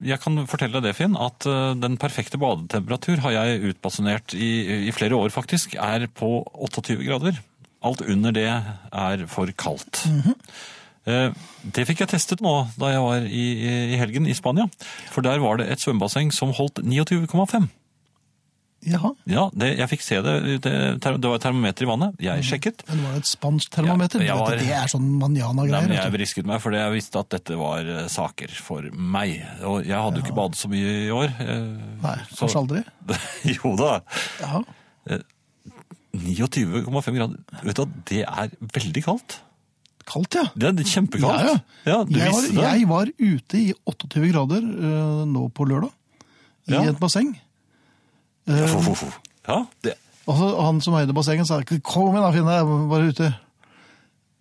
Jeg kan fortelle deg det, Finn, at eh, den perfekte badetemperatur har jeg utbasunert i, i flere år faktisk, er på 28 grader. Alt under det er for kaldt. Mhm. Eh, Det fikk jeg testet nå da jeg var i, i- i helgen i Spania. For der var det et svømmebasseng som holdt 29,5. Jaha. Ja, det, jeg fikk se det. Det, ter- det var et termometer i vannet. Jeg sjekket. Men Mhm. det var jo et spansk termometer. Ja, jeg Du vet var- at det er sånn Nei, manjana-greier. men vet jeg du. brisket meg, for jeg visste at dette var eh, saker for meg. Og jeg hadde jo ikke badet så mye i år. eh, Nei, så- kanskje aldri. jo da. Ja. 29,5 grader. Vet du hva, det er veldig kaldt. Kaldt, ja. Det er kjempekaldt. Ja, du jeg, var, visste det. jeg var ute i 28 grader eh, nå på lørdag, i Ja. et basseng. Eh, Fo, fo, fo. Ja, det, og så han som eide bassenget sa 'kom igjen da, Finne, jeg var bare ute'.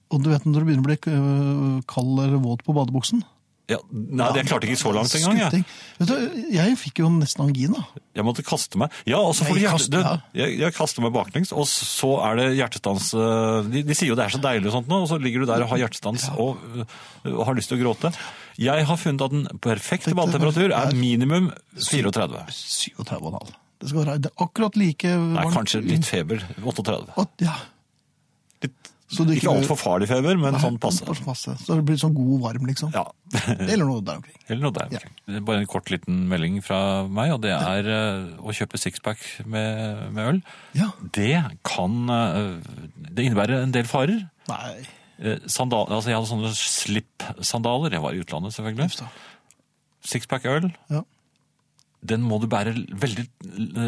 Og du vet når du begynner å bli eh, kald eller våt på badebuksen? ja, nei, jeg klarte ikke så langt engang. Jeg. Skutting. Vet du, jeg fikk jo nesten angina. jeg måtte kaste meg. Ja, og så får du Nei, hjerte... kast- Du, ja. jeg, jeg kaster meg baklengs, og så er det hjertestans. eh, De, de sier jo det er så deilig og sånt nå, og så ligger du der og har hjertestans og, eh, og har lyst til å gråte. Jeg har funnet at den perfekte badetemperatur er minimum 34. 37,5. Det skal være det er akkurat like Nei, varmt. kanskje litt feber. 38. At- Ja. Litt, Så det ikke altfor farlig feber, men sånn passe. Sånn passe. Så det blir sånn god og varm, liksom. Ja. Eller noe der omkring. Eller noe der. omkring. Det er Bare en kort liten melding fra meg, og det er eh, å kjøpe sixpack med, med øl. Ja. Det kan eh, Det innebærer en del farer. Nei. Eh, Sandal, altså jeg hadde sånne slip-sandaler. Jeg var i utlandet, selvfølgelig. Hufta. Sixpack øl. Ja. Den må du bære veldig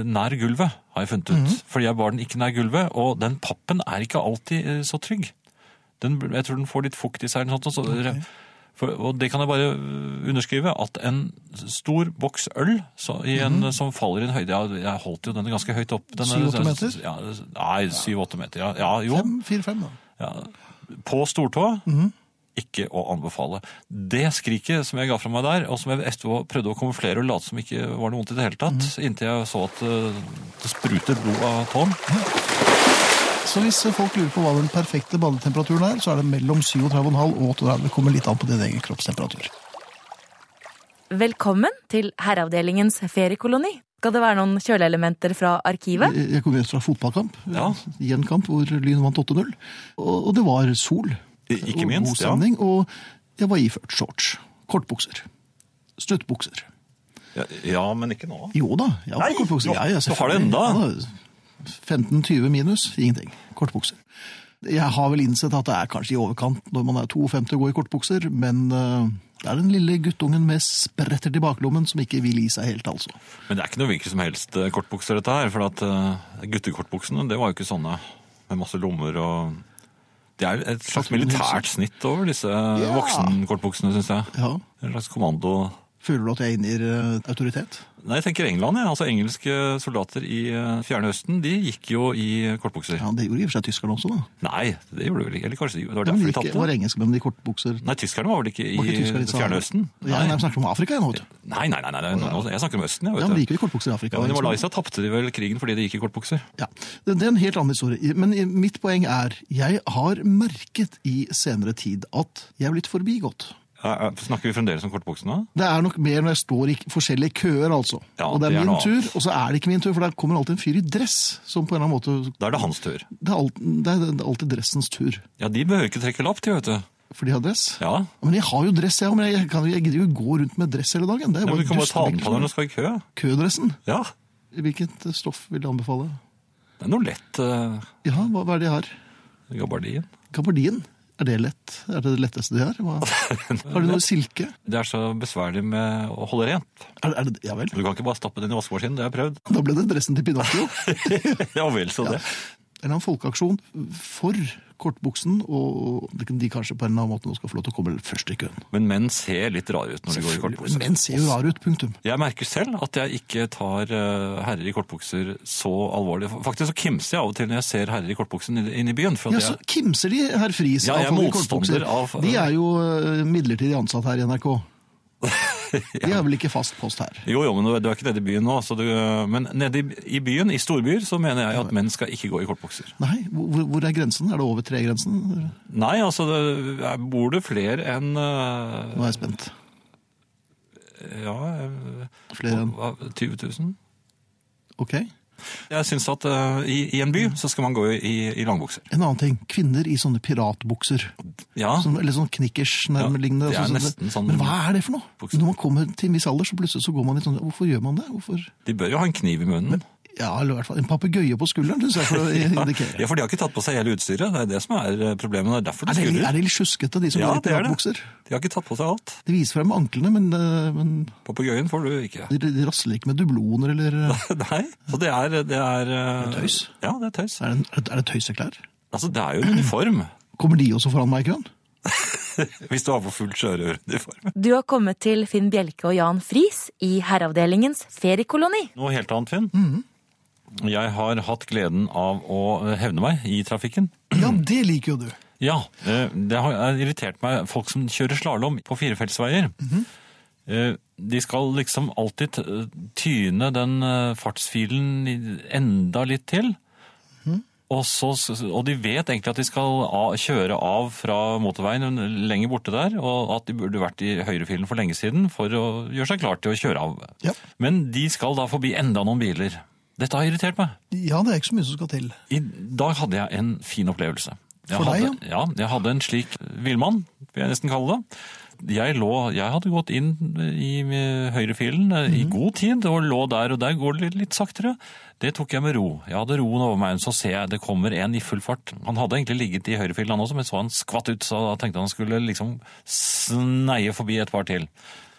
nær gulvet, har jeg funnet Mhm. ut. Fordi jeg bar den ikke nær gulvet, og den pappen er ikke alltid eh, så trygg. Den, jeg tror den får litt fukt i seg. eller noe sånt, og så, for, og det kan jeg bare eh, underskrive, at en stor boks øl så, i en, Mhm. som faller i en høyde jeg, jeg holdt jo denne ganske høyt opp. denne- Syv-åtte meter? Ja, nei, syv-åtte meter. Ja, ja jo. Fem, fire, fem, da. Ja. På stortå, ikke å anbefale. Det skriket som jeg ga fra meg der, og som jeg etterpå prøvde å kamuflere og late som ikke var noe vondt i det hele tatt, inntil jeg så at eh, det spruter blod av tåen. Så hvis eh, folk lurer på hva den perfekte badetemperaturen er, så er det mellom 37,5 og 38. Det kommer litt an på din egen kroppstemperatur. Velkommen til Herreavdelingens feriekoloni. Skal det være noen kjøleelementer fra arkivet? Eh, Jeg jeg kom rett fra fotballkamp, Ja. i en kamp hvor Lyn vant 8-0. Og og det var sol. I- ikke Og minst, God ja. stemning. Og jeg var iført shorts, kortbukser, struttbukser. Ja, ja, men ikke nå. Jo da, jeg har Nei, du- kortbukser. Jeg, jeg, du har det enda. Ja, 15-20 minus, ingenting. Kortbukser. Jeg har vel innsett at det er kanskje i overkant når man er 52 og går i kortbukser, men eh, det er den lille guttungen med spretter til baklommen som ikke vil gi seg helt, altså. Men det er ikke noe hvilke som helst eh, kortbukser dette her, for at eh, guttekortbuksene, det var jo ikke sånne med masse lommer og Det er et slags militært snitt over disse eh, voksenkortbuksene, syns jeg. Ja. En slags kommando... Føler du at jeg inngir eh, autoritet? Nei, jeg tenker England, ja. altså Engelske soldater i eh, fjerne østen, de gikk jo i kortbukser. Ja, Det gjorde i og for seg tyskerne også, da. Nei, det gjorde de vel ikke. Eller kanskje de, det var Men derfor de ikke, tapte. var engelskmennene i kortbukser? Nei, tyskerne var vel ikke i Var ikke tyskerne i fjerne østen? Ja, nei, vi snakker om Afrika igjen, vet du. Nei, nei, nei, nei, nei, nå- jeg snakker om østen, jeg Ja, men vet liker vi kortbukser i Afrika? Ja, men I engelskmennene? Malaysia tapte de vel krigen fordi de gikk i kortbukser. Ja, det det er en helt annen historie. Men i- mitt poeng er, jeg har merket i senere tid at jeg er blitt forbigått. Ja, ja, Snakker vi fremdeles om kortbuksene? Det er nok mer når jeg står i forskjellige køer, altså. Ja, og det er, det er min noe tur, annet. og så er det ikke min tur, for der kommer alltid en fyr i dress, som på en eller annen måte, Da er det hans tur. det er alltid, det er alltid dressens tur. Ja, de behøver ikke trekke lapp, de, vet du. For de har dress. Ja, Men jeg har jo dress, jeg, men jeg, kan, jeg gidder jo ikke gå rundt med dress hele dagen. Det er ja jo men Du kan bare ta den altså. på deg dustevekt når du skal i kø. Kødressen. Ja, Hvilket stoff vil du anbefale? Det er noe lett. eh, Ja, hva, hva er det jeg har? Gabardin. Gabardin? Er det lett? Er det det letteste de har? Hva? Har du noe silke? Det er så besværlig med å holde rent. Er, er det, ja vel. Du kan ikke bare stappe den i vaskemaskinen, det har jeg prøvd. Da ble det dressen til Pinocchio. En ja vel, så det. eller annen folkeaksjon for kortbuksen, og de kanskje på en eller annen måte nå skal få lov til å komme først i køen. Men menn ser litt rare ut når de går i Men kortbukser. menn ser jo rar ut, punktum. Jeg merker selv at jeg ikke tar eh, herrer i kortbukser så alvorlig. Faktisk så kimser jeg av og til når jeg ser herrer i kortbuksen inn- inne i byen. For Ja, at så jeg, kimser de herr Friis Ja, jeg av folk i er motstander kortbukser. av- De er jo eh, midlertidig ansatt her i NRK. De er vel ikke fast post her. jo, jo, men du er ikke nede i byen nå. Så du, men nede i, i byen, i storbyer, så mener jeg at menn skal ikke gå i kortbukser. Nei, hvor, hvor er grensen? Er det over tregrensen? Nei, altså det, er- bor det flere enn eh, Nå er jeg spent. Ja eh, Flere enn hva- 20 000? Ok. En Jeg syns at eh, i, i en by så skal man gå i, i langbukser. annen ting. Kvinner i sånne piratbukser. Ja, Sånn, eller sånn knickers nærmelignende. Ah. Ja, det er sånn- nesten sånn- Men hva er det for noe? Bukser. Når man kommer til en viss alder, så plutselig så går man litt sånn Hvorfor gjør man det? Hvorfor? de bør jo ha en kniv i munnen. Ja, eller i hvert fall en papegøye på skulderen, syns jeg, for å indikere. Ja, for de har ikke tatt på seg hele utstyret. Det er det som er eh, problemet. Det er derfor Er de det, litt- er skurrer. det litt sjuskete, de som Ja, det går i er det. piratbukser? De har ikke tatt på seg alt. De viser frem anklene, men, eh, men Papegøyen får du ikke. de, de rasler ikke med dubloner eller eh, Nei, så det er Det er, eh, Det er tøys. Ja, det er tøys. Er det, en- er det tøyseklær? Altså, det er jo en uniform. Kommer de også foran meg i køen? Hvis du har på full sjørøveruniform. Du har kommet til Finn Bjelke og Jan Friis i herreavdelingens feriekoloni. Noe helt annet, Finn. Mhm. Jeg har hatt gleden av å hevne meg i trafikken. Ja, det liker jo du. Ja, eh, det har irritert meg folk som kjører slalom på firefeltsveier. Eh, De skal liksom alltid eh, tyne den eh, fartsfilen i- enda litt til. Og, så, og de vet egentlig at de skal a- kjøre av fra motorveien en- lenger borte der, og at de burde vært i høyrefilen for lenge siden for å gjøre seg klar til å kjøre av. Ja. Men de skal da forbi enda noen biler. Dette har irritert meg. Ja, det er ikke så mye som skal til. I dag hadde jeg en fin opplevelse. Jeg For deg, hadde, ja? jeg hadde en slik villmann, vil jeg nesten kalle det. Jeg, lå, jeg hadde gått inn i høyrefilen eh, Mhm. i god tid og lå der, og der går det litt, litt saktere. Det tok jeg med ro. Jeg hadde roen over meg, men så ser jeg det kommer en i full fart. Han hadde egentlig ligget i høyrefilen han også, men så han skvatt ut, så da tenkte han skulle liksom sneie forbi et par til.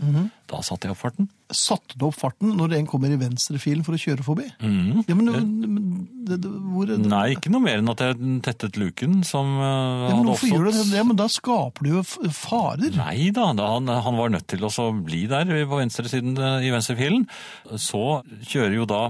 Mhm. Da satte jeg opp farten. Satte du opp farten når en kommer i venstrefilen for å kjøre forbi? Mhm. Ja, men, men det, det, hvor, Nei, ikke noe mer enn at jeg tettet luken som eh, ja, men hadde hvorfor oppstått. gjør du det? Ja, men da skaper du jo f- farer. Nei da, da han, han var nødt til å så bli der på venstresiden eh, i venstrefilen. Så kjører jo da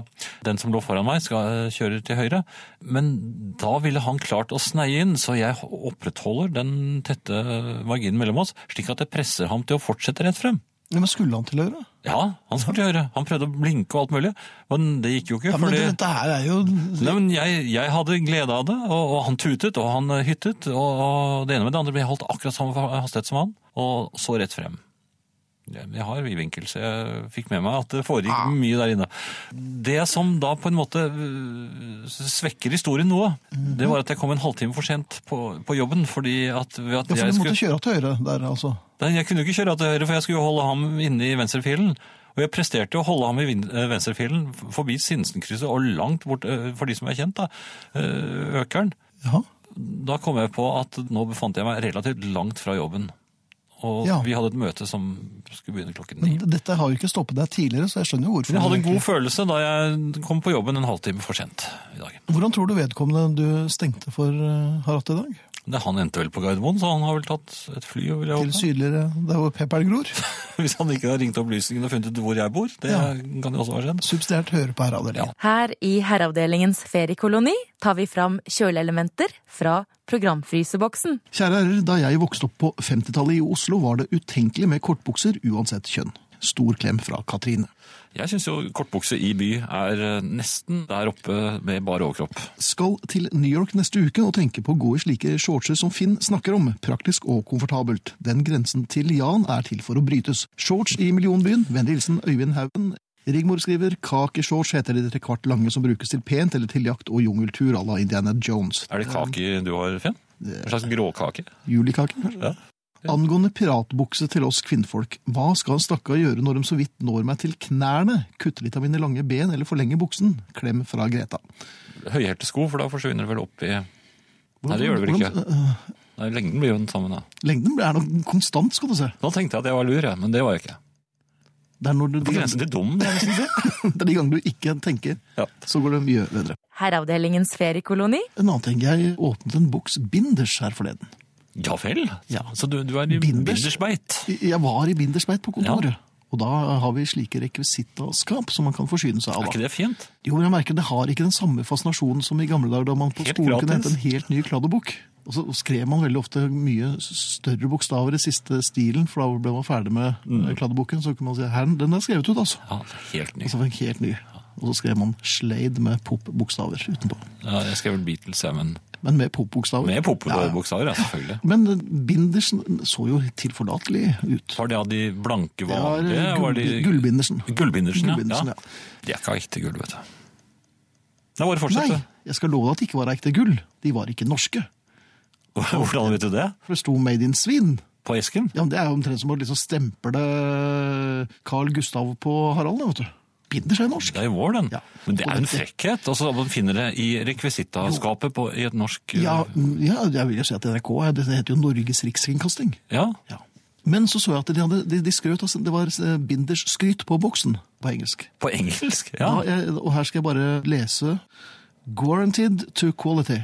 den som lå foran meg, skal eh, kjøre til høyre. Men da ville han klart å sneie inn, så jeg opprettholder den tette marginen mellom oss, slik at jeg presser ham til å fortsette rett frem. Ja, men skulle han til å gjøre? Ja, han skulle til høyre. Han prøvde å blinke og alt mulig, men det gikk jo ikke. Ja, men fordi... dette, dette her er jo Nei, men jeg, jeg hadde glede av det, og, og han tutet, og han eh, hyttet, og, og det ene med det andre ble holdt akkurat samme fa- hastighet som han, og så rett frem. Jeg jeg har vid vinkel, så jeg fikk med meg at det foregikk Ah. mye der inne. Det som da på en måte øh, svekker historien noe, det var at jeg kom en halvtime for sent på, på jobben, fordi at, ved at Ja, for jeg du skulle... måtte kjøre til høyre der, altså. Nei, jeg kunne jo ikke kjøre av til høyre, for jeg skulle jo holde ham inne i venstrefilen. Og jeg presterte å holde ham i vin- eh, venstrefilen f- forbi Sinsenkrysset og langt bort, eh, for de som er kjent, da, eh, Økeren. Ja. Da kom jeg på at nå befant jeg meg relativt langt fra jobben. Og Ja. Mm. vi hadde et møte som skulle begynne klokken Men ni. dette har jo ikke stoppet deg tidligere, så jeg skjønner jo hvorfor. Men jeg hadde du en god egentlig- følelse da jeg kom på jobben en halvtime for sent i dag. Hvordan tror du vedkommende du stengte for, eh, har hatt i dag? Men Han endte vel på Gardermoen, så han har vel tatt et fly, vil jeg Til håpe. sydligere der hvor pepperen gror? Hvis han ikke har ringt opplysningene og funnet ut hvor jeg bor. Det Ja. kan jo også ha skjedd. Subsidiært høre på herreavdelingen. Her i herreavdelingens feriekoloni tar vi fram kjøleelementer fra programfryseboksen. Kjære herrer, da jeg vokste opp på 50-tallet i Oslo, var det utenkelig med kortbukser uansett kjønn. Stor klem fra Katrine. Jeg syns jo kortbukse i by er eh, nesten der oppe med bar overkropp. Skal til New York neste uke og tenke på å gå i slike shortser som Finn snakker om. Praktisk og komfortabelt. Den grensen til Jan er til for å brytes. Shorts i millionbyen. Vennlig hilsen Øyvind Haugen. Rigmor skriver kakeshorts heter de trekvart lange som brukes til pent eller til jakt og jungeltur à la Indiana Jones. Eh, Er det kake du har, Finn? En slags gråkake? Julekake, kanskje? Ja. Angående piratbukse til oss kvinnfolk, hva skal en stakkar gjøre når de så vidt når meg til knærne? Kutte litt av mine lange ben eller forlenge buksen? Klem fra Greta. Høyhælte sko, for da forsvinner det vel opp i Nei, det gjør det vel ikke. Hvordan- øh, Nei, Lengden blir jo den samme, da. Lengden er nok konstant, skal du se. Da tenkte jeg at jeg var lur, jeg, men det var jeg ikke. Det er, når du, På grensen til dum. vil jeg nesten si. det er de gangene du ikke tenker, Ja. så går det mye bedre. Herreavdelingens feriekoloni. En annen ting, jeg åpnet en boks binders her forleden. ja vel? Ja. Så du, du er i Binders. bindersbeit? Jeg var i bindersbeit på kontoret. Og da har vi slike rekvisittaskap som man kan forsyne seg av. Er ikke det fint? Jo, men jeg merker det har ikke den samme fascinasjonen som i gamle dager da man på Helt skolen kunne gratis. hente en helt ny kladdebok. Og så skrev man veldig ofte mye større bokstaver i siste stilen, for da ble man ferdig med Mm. eh, kladdeboken. Så kunne man si her, den er skrevet ut, altså. Ja, Helt ny. Og så var den helt ny. Og så skrev man Slade med pop-bokstaver utenpå. Ja, jeg skrev vel Beatles, jeg, men men med popbokstaver. Med Ja, ja. popo-bokstaver, ja, selvfølgelig. Men eh, Bindersen så jo tilforlatelig ut. Var det av de blanke Det var eh, vanlige? var de... Gull- Gullbindersen. Gullbindersen, ja. Gullbindersen, ja. ja. De er ikke av ekte gull, vet du. Nei, bare Nei, fortsett. jeg skal love deg at det ikke var ekte gull. De var ikke norske. du. Hvordan vet du det? For det sto Made in Svin. På esken? Ja, men Det er jo omtrent som å liksom stemple Carl Gustav på Harald. da, vet du. Binder seg norsk. Det er jo vår, den. Ja. Men det er jo en Og dette- frekkhet. Altså, man finner det i rekvisittaskapet på, i et norsk Ja, ja, jeg vil jo si at NRK er- det heter jo Norges Rikskringkasting. ja. Ja. Men så så jeg at de, hadde, de, de skrøt, altså, det var eh, Binders skryt på boksen på engelsk. På engelsk? Ja. Ja. jeg, og her skal jeg bare lese Guaranteed to quality.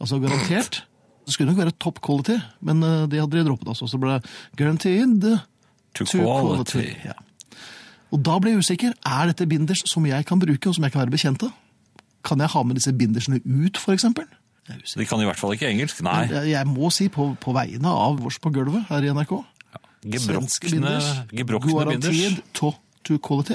Altså garantert. Det skulle nok være top quality, men eh, det hadde de droppet. Altså. Så det ble guaranteed To to quality. quality. Ja. Og da ble jeg usikker. Er dette binders som jeg kan bruke, og som jeg kan være bekjent av? Kan jeg ha med disse bindersene ut, for eksempel? Jeg er usikker. De kan i hvert fall ikke engelsk, nei. Jeg, jeg må si på, på vegne av vårs på gulvet her i NRK. Gebrokkne gebrokkne Guaranteed binders. to, to quality.